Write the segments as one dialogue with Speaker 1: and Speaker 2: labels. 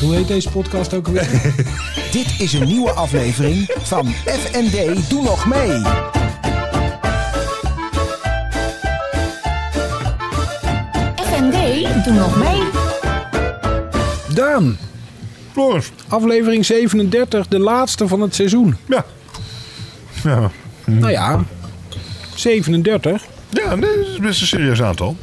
Speaker 1: Hoe heet deze podcast ook alweer?
Speaker 2: Dit is een nieuwe aflevering van FND Doe Nog Mee.
Speaker 3: FND, doe nog mee.
Speaker 1: Daan,
Speaker 4: Floris.
Speaker 1: aflevering 37, de laatste van het seizoen.
Speaker 4: Ja. Ja.
Speaker 1: Nou ja, 37.
Speaker 4: Ja, nee, dat is best een serieus aantal.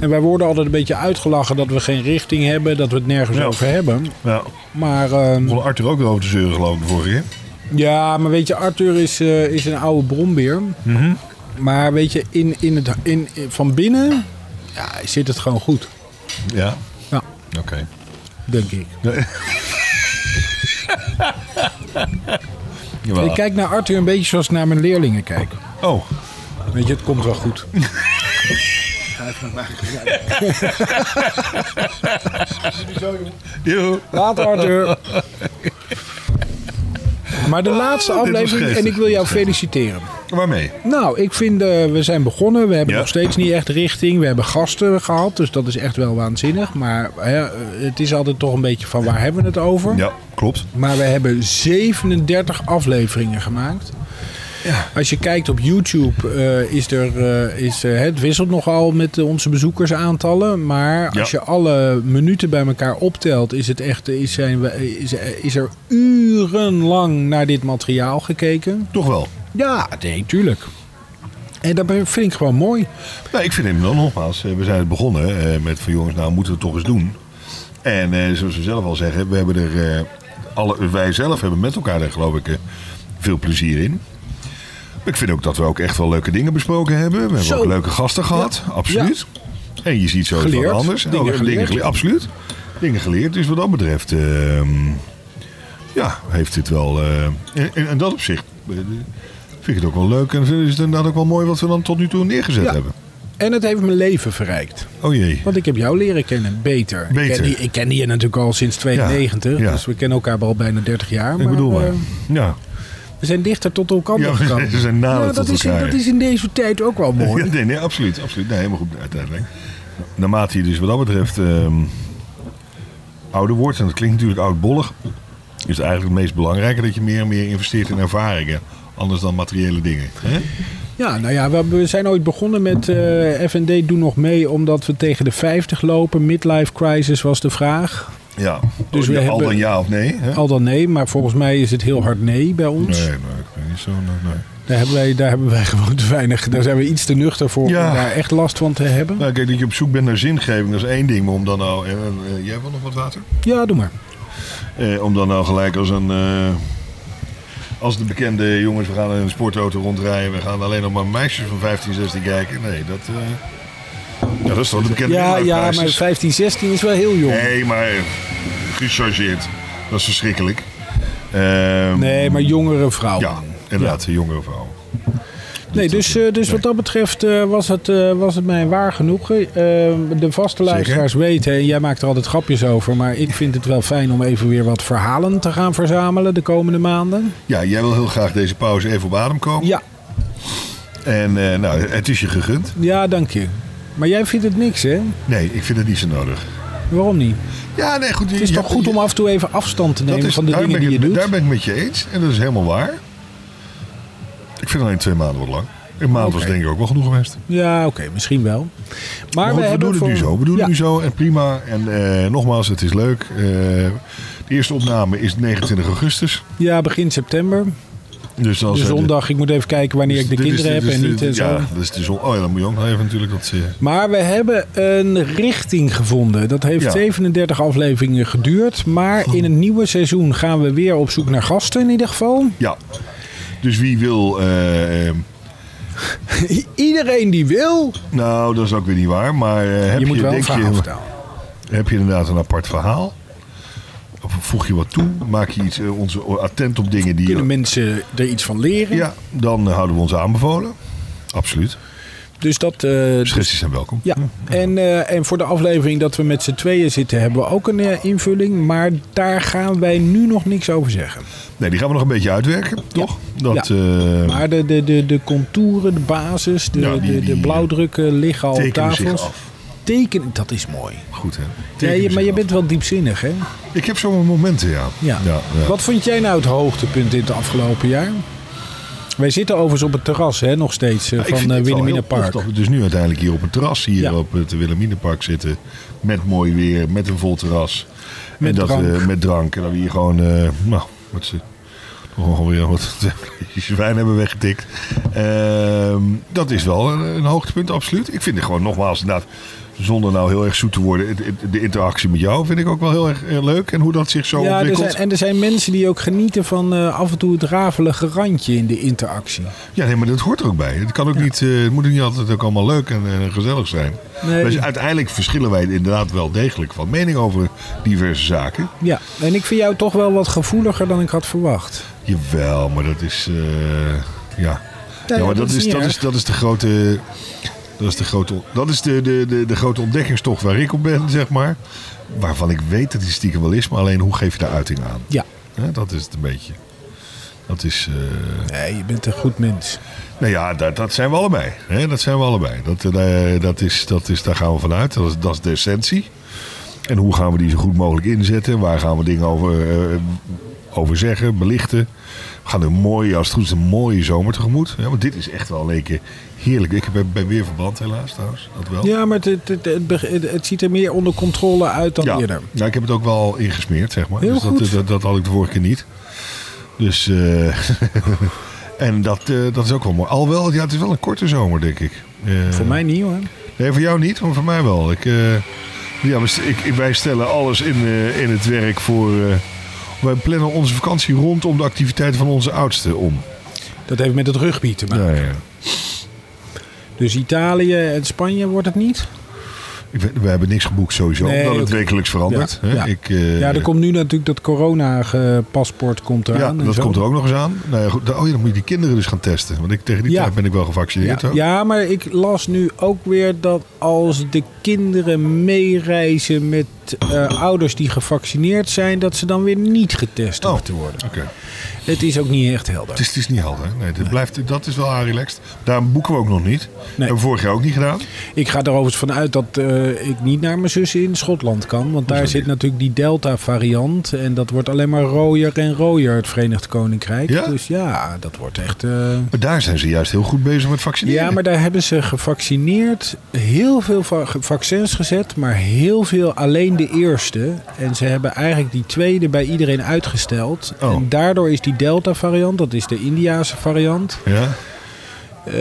Speaker 1: En wij worden altijd een beetje uitgelachen dat we geen richting hebben, dat we het nergens
Speaker 4: Ja.
Speaker 1: over hebben.
Speaker 4: Ja.
Speaker 1: Maar ehm,
Speaker 4: Begon Arthur ook weer over te zeuren, geloof ik, de vorige keer.
Speaker 1: ja, maar weet je, Arthur is, eh, is een oude bronbeer.
Speaker 4: Mhm.
Speaker 1: Maar weet je, in, in het, in, in- van binnen ja, zit het gewoon goed,
Speaker 4: Ja.
Speaker 1: Ja.
Speaker 4: Oké.
Speaker 1: denk ik.
Speaker 4: Jawel.
Speaker 1: Ik kijk naar Arthur een beetje zoals ik naar mijn leerlingen kijk.
Speaker 4: Oh.
Speaker 1: Weet je, het komt wel goed.
Speaker 4: Joe.
Speaker 1: Later, Arthur. Maar de laatste
Speaker 4: Oh, dit was
Speaker 1: aflevering, en
Speaker 4: geestig.
Speaker 1: ik wil jou feliciteren.
Speaker 4: Waarmee?
Speaker 1: Nou, ik vind, eh, we zijn begonnen. We hebben
Speaker 4: Ja.
Speaker 1: nog steeds niet echt richting. We hebben gasten gehad, dus dat is echt wel waanzinnig. Maar hè, het is altijd toch een beetje van waar hebben we het over?
Speaker 4: Ja, klopt.
Speaker 1: Maar we hebben 37 afleveringen gemaakt. Als je kijkt op YouTube, eh, is er, eh, is, eh, het wisselt nogal met eh, onze bezoekersaantallen. Maar
Speaker 4: Ja.
Speaker 1: als je alle minuten bij elkaar optelt, is, het echt, eh, is, zijn we, is, is er urenlang naar dit materiaal gekeken.
Speaker 4: Toch wel.
Speaker 1: Ja, nee, tuurlijk. En dat ben- vind ik gewoon mooi.
Speaker 4: Nou, ik vind hem dan nogmaals. eh, We zijn het begonnen eh, met van jongens, nou moeten we het toch eens doen. En eh, zoals we zelf al zeggen, we hebben er, eh, alle, wij zelf hebben met elkaar er geloof ik eh, veel plezier in. Maar ik vind ook dat we ook echt wel leuke dingen besproken hebben. We hebben
Speaker 1: Zo.
Speaker 4: ook leuke gasten gehad, absoluut. En je ziet zo iets
Speaker 1: Geleerd,
Speaker 4: wat anders.
Speaker 1: dingen
Speaker 4: Ook
Speaker 1: geleerd.
Speaker 4: gele- absoluut. Dingen geleerd. Dus wat dat betreft, ehm, ja, heeft dit wel... eh, en, en, en dat opzicht eh, vind ik het ook wel leuk. En is het inderdaad ook wel mooi wat we dan tot nu toe neergezet
Speaker 1: Ja.
Speaker 4: hebben.
Speaker 1: En het heeft mijn leven verrijkt.
Speaker 4: Oh jee.
Speaker 1: Want ik heb jou leren kennen, beter. Ik,
Speaker 4: Beter.
Speaker 1: ken die, ik ken die natuurlijk al sinds 92,
Speaker 4: ja.
Speaker 1: dus we kennen elkaar al bijna 30 jaar.
Speaker 4: Ik bedoel maar.
Speaker 1: eh,
Speaker 4: ja.
Speaker 1: we zijn dichter tot elkaar
Speaker 4: Ja, we
Speaker 1: gekomen.
Speaker 4: zijn nader
Speaker 1: Nou, dat,
Speaker 4: tot
Speaker 1: is,
Speaker 4: elkaar.
Speaker 1: dat is in deze tijd ook wel mooi.
Speaker 4: ja nee, nee, absoluut. absoluut. Nee, helemaal goed uiteindelijk. Naarmate je dus wat dat betreft ehm, ouder wordt, en dat klinkt natuurlijk oudbollig, is het eigenlijk het meest belangrijke dat je meer en meer investeert in ervaringen. Anders dan materiële dingen. Hè?
Speaker 1: Ja, nou ja, we, we zijn ooit begonnen met eh, F&D doe nog mee, omdat we tegen de 50 lopen. Midlife crisis was de vraag.
Speaker 4: Ja,
Speaker 1: Dus
Speaker 4: dus
Speaker 1: we
Speaker 4: al
Speaker 1: hebben-
Speaker 4: dan ja of nee. Hè?
Speaker 1: Al dan nee, maar volgens mij is het heel hard nee bij ons.
Speaker 4: Nee, nee, ik ben niet zo. Nee, nee.
Speaker 1: Daar, hebben wij, daar hebben wij gewoon te weinig, daar zijn we iets te nuchter voor
Speaker 4: Ja.
Speaker 1: om daar echt last van te hebben.
Speaker 4: Nou, kijk, dat je op zoek bent naar zingeving, dat is één ding. Maar om dan nou. eh, eh, jij wil nog wat water?
Speaker 1: Ja, doe maar.
Speaker 4: Eh, om dan nou gelijk als een. eh, als de bekende jongens, we gaan in een sportauto rondrijden. We gaan alleen nog maar meisjes van 15, 16 kijken. Nee, dat. eh, ja, dat is toch de bekende
Speaker 1: Ja, ja, maar
Speaker 4: midlife crisis.
Speaker 1: 15, 16 is wel heel jong.
Speaker 4: Nee, maar. eh, Gechargeerd. Dat is verschrikkelijk. Ehm,
Speaker 1: Nee, maar jongere vrouwen.
Speaker 4: Ja, inderdaad, de jongere vrouw.
Speaker 1: nee, dus, eh, dus wat dat betreft eh, was, het, eh, was het mij waar genoeg. Eh, de vaste luisteraars weten, en jij maakt er altijd grapjes over, maar ik vind het wel fijn om even weer wat verhalen te gaan verzamelen de komende maanden.
Speaker 4: Ja, jij wil heel graag deze pauze even op adem komen.
Speaker 1: Ja,
Speaker 4: En eh, nou, het is je gegund.
Speaker 1: ja, dank je. Maar jij vindt het niks, hè?
Speaker 4: Nee, ik vind het niet zo nodig.
Speaker 1: Waarom niet?
Speaker 4: Ja, nee, goed.
Speaker 1: Het is toch goed om af en toe even afstand te nemen van de
Speaker 4: daar
Speaker 1: dingen
Speaker 4: ben
Speaker 1: die
Speaker 4: ik
Speaker 1: je
Speaker 4: het-
Speaker 1: doet?
Speaker 4: Daar ben ik met je eens. En dat is helemaal waar. Ik vind alleen twee maanden wat lang. Een maand was
Speaker 1: Oké.
Speaker 4: denk ik ook wel genoeg geweest. Maar
Speaker 1: Ja, oké, misschien wel. Maar,
Speaker 4: goed,
Speaker 1: we,
Speaker 4: we,
Speaker 1: hebben
Speaker 4: doen het nu
Speaker 1: voor-
Speaker 4: zo. We doen
Speaker 1: Ja.
Speaker 4: het nu zo en prima. En eh, nogmaals, het is leuk. Eh, de eerste opname is 29 augustus.
Speaker 1: Ja, begin september.
Speaker 4: Dus als
Speaker 1: De
Speaker 4: eh,
Speaker 1: zondag. Ik moet even kijken wanneer
Speaker 4: dus
Speaker 1: ik de
Speaker 4: dit is
Speaker 1: kinderen heb
Speaker 4: dus
Speaker 1: en
Speaker 4: de-
Speaker 1: niet en zo.
Speaker 4: Ja, dat is de zon. Oh ja, dan moet je ook nog even natuurlijk. Dat, eh,
Speaker 1: Maar we hebben een richting gevonden. Dat heeft
Speaker 4: Ja.
Speaker 1: 37 afleveringen geduurd. Maar in het nieuwe seizoen gaan we weer op zoek naar gasten in ieder geval.
Speaker 4: ja. Dus wie wil... eh, eh,
Speaker 1: I- Iedereen die wil,
Speaker 4: nou, dat is ook weer niet waar. Maar eh, heb
Speaker 1: je
Speaker 4: je,
Speaker 1: moet wel een
Speaker 4: denk
Speaker 1: verhaal
Speaker 4: je,
Speaker 1: vertellen.
Speaker 4: Heb je inderdaad een apart verhaal? Of voeg je wat toe? Maak je iets, eh, ons attent op dingen die...
Speaker 1: Kunnen mensen er iets van leren?
Speaker 4: Ja, dan eh, houden we ons aanbevolen. Absoluut.
Speaker 1: Dus dat... eh, dus-
Speaker 4: Suggesties zijn welkom.
Speaker 1: ja, en, eh, en voor de aflevering dat we met z'n tweeën zitten hebben we ook een eh, invulling. Maar daar gaan wij nu nog niks over zeggen.
Speaker 4: Nee, die gaan we nog een beetje uitwerken, toch? Dat, eh,
Speaker 1: Maar de, de, de, de contouren, de basis, de,
Speaker 4: Ja, die-
Speaker 1: de, de
Speaker 4: die, eh,
Speaker 1: blauwdrukken liggen al op
Speaker 4: tekenen
Speaker 1: tafels.
Speaker 4: zich af.
Speaker 1: teken, dat is mooi.
Speaker 4: Goed, hè?
Speaker 1: Ja, je- maar je bent wel diepzinnig, hè?
Speaker 4: Ik heb zo'n momenten, ja.
Speaker 1: Ja.
Speaker 4: ja, ja.
Speaker 1: Wat vond jij nou het hoogtepunt in het afgelopen jaar? Wij zitten overigens op het terras, hè, nog steeds, eh,
Speaker 4: Ja, ik vind
Speaker 1: van eh
Speaker 4: het wel
Speaker 1: Wilhelmina
Speaker 4: heel tof
Speaker 1: Park.
Speaker 4: Dat we dus nu uiteindelijk hier op het terras hier
Speaker 1: Ja.
Speaker 4: op het Wilhelminapark zitten. Met mooi weer, met een vol terras.
Speaker 1: Met
Speaker 4: en dat
Speaker 1: drank.
Speaker 4: we- met drank. En dat we hier gewoon, eh, nou, wat ze nog alweer wat flesjes wijn hebben weggetikt. Ehm, dat is wel een, een hoogtepunt, absoluut. Ik vind het gewoon nogmaals inderdaad, zonder nou heel erg zoet te worden, het- het- de interactie met jou vind ik ook wel heel erg eh, leuk. En hoe dat zich zo
Speaker 1: Ja, er
Speaker 4: ontwikkelt.
Speaker 1: zijn, en er zijn mensen die ook genieten van eh, af en toe het rafelige randje in de interactie.
Speaker 4: Ja, nee, maar dat hoort er ook bij. Het, kan ook niet, eh, het moet ook niet altijd ook allemaal leuk en eh, gezellig zijn.
Speaker 1: Nee.
Speaker 4: Dus uiteindelijk verschillen wij inderdaad wel degelijk van mening over diverse zaken.
Speaker 1: Ja, en ik vind jou toch wel wat gevoeliger dan ik had verwacht.
Speaker 4: Jawel, maar dat is. eh, ja. ja,
Speaker 1: ja,
Speaker 4: maar
Speaker 1: dat
Speaker 4: dat
Speaker 1: is
Speaker 4: is,
Speaker 1: niet
Speaker 4: dat,
Speaker 1: erg.
Speaker 4: is, dat is de grote. Dat is, de grote, on- dat is de, de, de, de grote ontdekkingstocht waar ik op ben, zeg maar. Waarvan ik weet dat die stiekem wel is, maar alleen hoe geef je daar uiting aan?
Speaker 1: Ja.
Speaker 4: Hè, dat is het een beetje. Dat is. eh,
Speaker 1: Nee, je bent een goed mens.
Speaker 4: Nou ja, dat, dat zijn we allebei. Hè? Dat zijn we allebei. Dat, eh, dat is, dat is, daar gaan we vanuit. Dat is, dat is de essentie. En hoe gaan we die zo goed mogelijk inzetten? Waar gaan we dingen over, eh, over zeggen, belichten? We gaan een mooie, als het goed is, een mooie zomer tegemoet. Hè? Want dit is echt wel een keer heerlijk. Ik ben, ben weer verbrand helaas trouwens. Dat wel.
Speaker 1: Ja, maar het, het, het, het beg- het- het ziet er meer onder controle uit dan
Speaker 4: Ja.
Speaker 1: eerder.
Speaker 4: Ja, ik heb het ook wel ingesmeerd, zeg maar.
Speaker 1: Heel
Speaker 4: dus
Speaker 1: goed.
Speaker 4: Dat, dat, dat had ik de vorige keer niet. Dus, eh, en dat, eh, dat is ook wel mooi. Alhoewel, ja, het is wel een korte zomer, denk ik. Eh,
Speaker 1: Voor mij niet hoor.
Speaker 4: Nee, voor jou niet, maar voor mij wel. Ik, eh, ja, we st- ik, ik- wij stellen alles in, eh, in het werk voor... eh, wij plannen onze vakantie rondom de activiteiten van onze oudste om.
Speaker 1: Dat heeft met het rugby te maken.
Speaker 4: Nou, ja.
Speaker 1: Dus Italië en Spanje wordt het niet?
Speaker 4: Ik weet- we hebben niks geboekt sowieso,
Speaker 1: Nee,
Speaker 4: omdat het
Speaker 1: oké.
Speaker 4: wekelijks verandert.
Speaker 1: Ja,
Speaker 4: hè.
Speaker 1: ja.
Speaker 4: Ik, eh,
Speaker 1: ja, er komt nu natuurlijk dat corona-paspoort komt
Speaker 4: ja,
Speaker 1: eraan. en
Speaker 4: dat
Speaker 1: zo.
Speaker 4: komt er ook nog eens aan. Nou, ja, goed, dan- oh ja, dan moet je die kinderen dus gaan testen. Want ik, tegen die
Speaker 1: Ja.
Speaker 4: tijd ben ik wel
Speaker 1: Ja,
Speaker 4: gevaccineerd ook.
Speaker 1: ja, maar ik las nu ook weer dat als de kinderen meereizen met eh, ouders die gevaccineerd zijn, dat ze dan weer niet getest
Speaker 4: Oh.
Speaker 1: hoeven te worden.
Speaker 4: Oké.
Speaker 1: Het is ook niet echt helder.
Speaker 4: Het, is, het is niet helder. Nee, dat, Blijft, dat is wel aan relaxed. Daarom boeken we ook nog niet. Hebben we vorig jaar ook niet gedaan.
Speaker 1: Ik ga er overigens vanuit dat eh, ik niet naar mijn zus in Schotland kan. Want daar
Speaker 4: Hoezo
Speaker 1: zit
Speaker 4: niet?
Speaker 1: natuurlijk die Delta-variant. En dat wordt alleen maar rooier en rooier, het Verenigd Koninkrijk.
Speaker 4: Ja?
Speaker 1: Dus ja, dat wordt echt... eh,
Speaker 4: Maar daar zijn ze juist heel goed bezig met vaccineren.
Speaker 1: Ja, maar daar hebben ze gevaccineerd, heel veel va- ge- vaccins gezet, maar heel veel alleen de eerste. En ze hebben eigenlijk die tweede bij iedereen uitgesteld.
Speaker 4: Oh.
Speaker 1: En daardoor is die Delta-variant, dat is de Indiase variant,
Speaker 4: Ja?
Speaker 1: eh,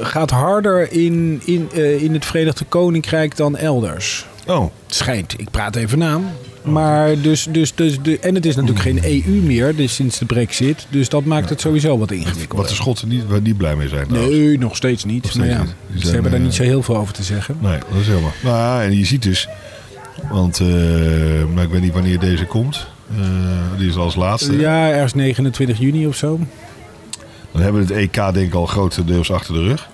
Speaker 1: gaat harder in, in, eh, in het Verenigd Koninkrijk dan elders.
Speaker 4: Oh,
Speaker 1: Het schijnt, ik praat even na. Maar dus, dus, dus, de, en het is natuurlijk geen EU meer dus sinds de brexit. Dus dat maakt het sowieso wat ingewikkelder.
Speaker 4: wat de Schotten niet, waar niet blij mee zijn. trouwens.
Speaker 1: Nee, nog steeds niet.
Speaker 4: steeds
Speaker 1: maar ja,
Speaker 4: niet. Die
Speaker 1: ze
Speaker 4: zijn,
Speaker 1: hebben daar
Speaker 4: eh,
Speaker 1: niet zo heel veel over te zeggen.
Speaker 4: Nee, dat is helemaal. Nou ja, en je ziet dus. Want eh, nou, ik weet niet wanneer deze komt. Eh, die is als laatste.
Speaker 1: Ja, ergens 29 juni of zo.
Speaker 4: Dan hebben we het EK denk ik al grotendeels achter de rug.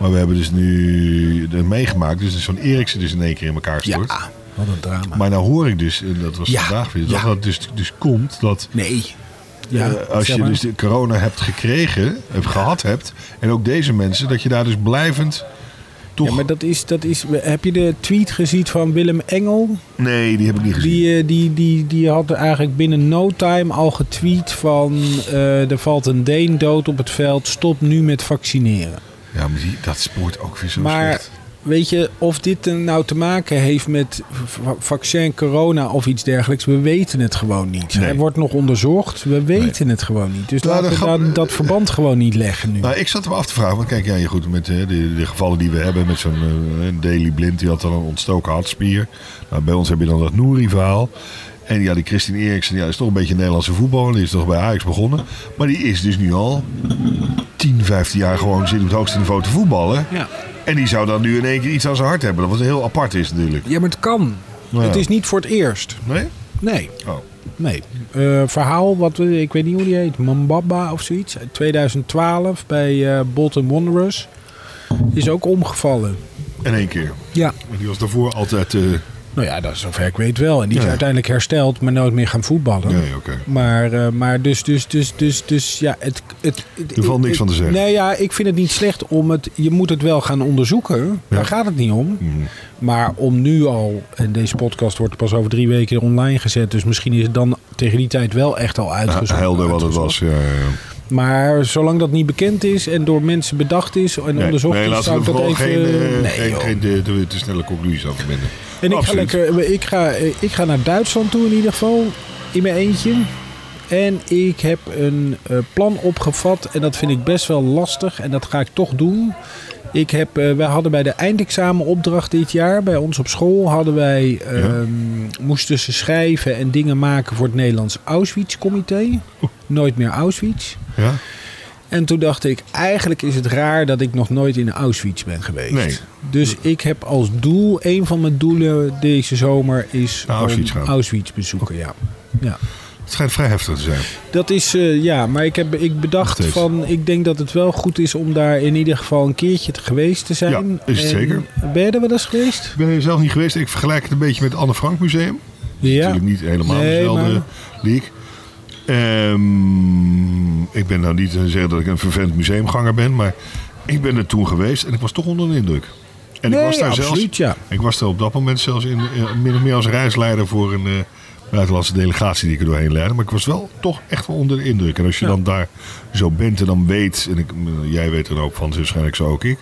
Speaker 4: Maar we hebben dus nu het meegemaakt. Dus zo'n Eriksen dus in één keer in elkaar stort.
Speaker 1: Ja, wat een drama.
Speaker 4: Maar nou hoor ik dus, en dat was
Speaker 1: Ja,
Speaker 4: vandaag weer, dat
Speaker 1: ja.
Speaker 4: dat dus, dus komt dat
Speaker 1: nee. Ja,
Speaker 4: eh, als
Speaker 1: zeg
Speaker 4: je
Speaker 1: maar.
Speaker 4: dus de corona hebt gekregen, hebt gehad hebt, en ook deze mensen, dat je daar dus blijvend toch...
Speaker 1: Ja, maar dat is, dat is... Heb je de tweet gezien van Willem Engel?
Speaker 4: Nee, die heb ik niet gezien.
Speaker 1: Die, eh, die, die, die had eigenlijk binnen no time al getweet van... eh, er valt een Deen dood op het veld, stop nu met vaccineren.
Speaker 4: Ja, maar die, dat spoort ook weer zo
Speaker 1: Maar
Speaker 4: slecht.
Speaker 1: weet je, of dit er nou te maken heeft met va- vaccin, corona of iets dergelijks, we weten het gewoon niet.
Speaker 4: Nee.
Speaker 1: Hij wordt nog onderzocht, we weten het gewoon niet. Dus
Speaker 4: Nou,
Speaker 1: laten we
Speaker 4: dat gaat-
Speaker 1: daar- dat verband gewoon niet leggen nu.
Speaker 4: Nou, ik zat me af te vragen, want kijk, ja, je goed, met eh, de, de gevallen die we hebben met zo'n eh, Daily Blind, die had dan een ontstoken hartspier. Nou, bij ons heb je dan dat Nouri-verhaal. En ja, die Christine Eriksen, ja, is toch een beetje Nederlandse voetballer, die is toch bij Ajax begonnen. Maar die is dus nu al 10, 15 jaar gewoon zit op het hoogste niveau te voetballen.
Speaker 1: Ja.
Speaker 4: En die zou dan nu in één keer iets aan zijn hart hebben, wat heel apart is natuurlijk.
Speaker 1: Ja, maar het kan.
Speaker 4: Nou ja.
Speaker 1: Het is niet voor het eerst.
Speaker 4: Nee?
Speaker 1: Nee,
Speaker 4: Oh.
Speaker 1: nee. Eh, verhaal, wat, we- ik weet niet hoe die heet, Mambaba of zoiets. uit 2012 bij eh Bolton Wanderers. Is ook omgevallen.
Speaker 4: In één keer.
Speaker 1: Ja.
Speaker 4: En die was daarvoor altijd eh,
Speaker 1: Nou ja, dat is zover ik weet wel. En die is
Speaker 4: Ja.
Speaker 1: uiteindelijk hersteld, maar nooit meer gaan voetballen.
Speaker 4: Nee, oké.
Speaker 1: Maar, eh, maar dus, dus, dus, dus, dus, ja, het... het, het
Speaker 4: Er valt niks van te zeggen.
Speaker 1: Nee, ja, ik vind het niet slecht om het... Je moet het wel gaan onderzoeken. Daar gaat het niet om.
Speaker 4: Mhm.
Speaker 1: Maar om nu al... En deze podcast wordt pas over drie weken online gezet. Dus misschien is het dan tegen die tijd wel echt al uitgezocht.
Speaker 4: Helder wat het was. Ja, ja, ja.
Speaker 1: Maar zolang dat niet bekend is en door mensen bedacht is en onderzocht
Speaker 4: nee,
Speaker 1: is,
Speaker 4: laten
Speaker 1: zou
Speaker 4: we
Speaker 1: ik dat
Speaker 4: vooral
Speaker 1: even...
Speaker 4: geen, eh, geen,
Speaker 1: joh.
Speaker 4: geen de, de- te snelle conclusies aan verbinden.
Speaker 1: En ik ga,
Speaker 4: Absoluut.
Speaker 1: lekker, eh, ik, ga, ik ga naar Duitsland toe in ieder geval, in mijn eentje. En ik heb een eh, plan opgevat en dat vind ik best wel lastig en dat ga ik toch doen. Ik heb, eh, wij hadden bij de eindexamenopdracht dit jaar, bij ons op school, hadden wij, ehm, moesten ze schrijven en dingen maken voor het Nederlands Auschwitz-comité. Nooit meer Auschwitz.
Speaker 4: Ja?
Speaker 1: En toen dacht ik, eigenlijk is het raar dat ik nog nooit in Auschwitz ben geweest.
Speaker 4: Nee.
Speaker 1: Dus ik heb als doel, een van mijn doelen deze zomer is
Speaker 4: Naar Auschwitz
Speaker 1: om
Speaker 4: gaan.
Speaker 1: Auschwitz bezoeken. Ja. ja.
Speaker 4: Het schijnt vrij heftig te zijn.
Speaker 1: Dat is, eh, ja, maar ik heb ik bedacht
Speaker 4: Nog steeds.
Speaker 1: van, ik denk dat het wel goed is om daar in ieder geval een keertje te geweest te zijn.
Speaker 4: Ja, is het
Speaker 1: En
Speaker 4: zeker.
Speaker 1: Ben je er wel eens geweest?
Speaker 4: Ik ben er zelf niet geweest. Ik vergelijk het een beetje met het Anne Frank Museum.
Speaker 1: Ja.
Speaker 4: Natuurlijk niet helemaal
Speaker 1: Nee,
Speaker 4: dezelfde
Speaker 1: maar-
Speaker 4: league. Ehm, ik ben nou niet aan het zeggen dat ik een vervent museumganger ben, maar ik ben er toen geweest en ik was toch onder de indruk. En
Speaker 1: Nee,
Speaker 4: ik was daar
Speaker 1: absoluut,
Speaker 4: zelfs,
Speaker 1: ja.
Speaker 4: Ik was daar op dat moment zelfs in, eh, min of meer als reisleider voor een eh, buitenlandse delegatie die ik er doorheen leidde. Maar ik was wel toch echt wel onder de indruk. En als je
Speaker 1: Ja.
Speaker 4: dan daar zo bent en dan weet, en ik, eh, jij weet er ook van, dus waarschijnlijk zo ook ik.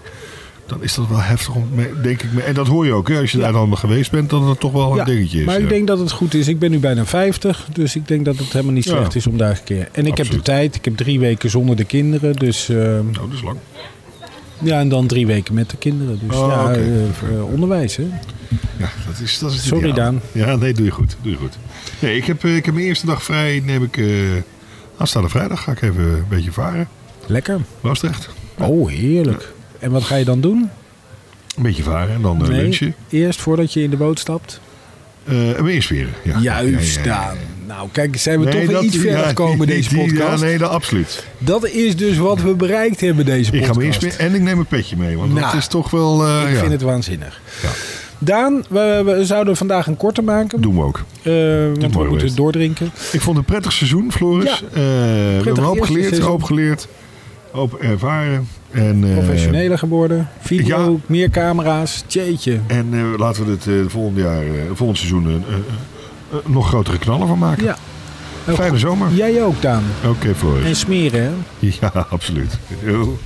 Speaker 4: Dan is dat wel heftig om, mee- denk ik. mee- En dat hoor je ook, hè, als je daar dan geweest bent, dat het toch wel een
Speaker 1: Ja,
Speaker 4: dingetje is.
Speaker 1: maar
Speaker 4: ja.
Speaker 1: ik denk dat het goed is. Ik ben nu bijna 50, dus ik denk dat het helemaal niet
Speaker 4: Ja.
Speaker 1: slecht is om daar een keer. En ik heb de
Speaker 4: Absoluut.
Speaker 1: tijd. Ik heb drie weken zonder de kinderen, dus eh,
Speaker 4: Nou, dat is lang.
Speaker 1: Ja, en dan drie weken met de kinderen. Dus
Speaker 4: Oh,
Speaker 1: ja,
Speaker 4: oké.
Speaker 1: eh, eh, onderwijs, hè?
Speaker 4: Ja, dat is, dat is het
Speaker 1: Sorry,
Speaker 4: ideaal.
Speaker 1: Daan.
Speaker 4: Ja, nee, doe je goed. Doe je goed. Nee, ik heb, eh, ik heb mijn eerste dag vrij. Neem ik, eh aanstaande vrijdag ga ik even een beetje varen.
Speaker 1: Lekker.
Speaker 4: Maastricht.
Speaker 1: Oh, heerlijk. En wat ga je dan doen?
Speaker 4: Een beetje varen en dan eh, lunchen.
Speaker 1: eerst voordat je in de boot stapt.
Speaker 4: Eh, en me insperen. Ja.
Speaker 1: Juist,
Speaker 4: Ja, ja, ja.
Speaker 1: Daan. Nou, kijk, zijn we
Speaker 4: Nee,
Speaker 1: toch weer
Speaker 4: dat-
Speaker 1: iets
Speaker 4: ja,
Speaker 1: verder gekomen
Speaker 4: die-
Speaker 1: deze
Speaker 4: die-
Speaker 1: podcast.
Speaker 4: Ja, nee, dat absoluut.
Speaker 1: Dat is dus wat we bereikt hebben deze
Speaker 4: Ik
Speaker 1: podcast.
Speaker 4: ga me insperen en ik neem een petje mee. Want dat
Speaker 1: Nou,
Speaker 4: is toch wel... eh,
Speaker 1: Ik
Speaker 4: ja.
Speaker 1: vind het waanzinnig.
Speaker 4: Ja.
Speaker 1: Daan, we, we zouden vandaag een korte maken.
Speaker 4: Doen we ook.
Speaker 1: eh, want
Speaker 4: mooi
Speaker 1: we moeten
Speaker 4: geweest.
Speaker 1: doordrinken.
Speaker 4: Ik vond het een prettig seizoen, Floris.
Speaker 1: Ja.
Speaker 4: Eh, we hebben een hoop
Speaker 1: eerste
Speaker 4: geleerd,
Speaker 1: seizoen.
Speaker 4: hoop geleerd. Hoop ervaren. En, eh,
Speaker 1: Professioneler geworden. Video,
Speaker 4: ja.
Speaker 1: meer camera's. Tjeetje.
Speaker 4: En eh, laten we het eh, volgend jaar, eh, volgend seizoen, eh, eh, eh, nog grotere knallen van maken.
Speaker 1: Ja.
Speaker 4: Fijne zomer.
Speaker 1: Jij ook, Daan.
Speaker 4: Oké, Floris.
Speaker 1: En smeren, hè?
Speaker 4: Ja, absoluut. Yo.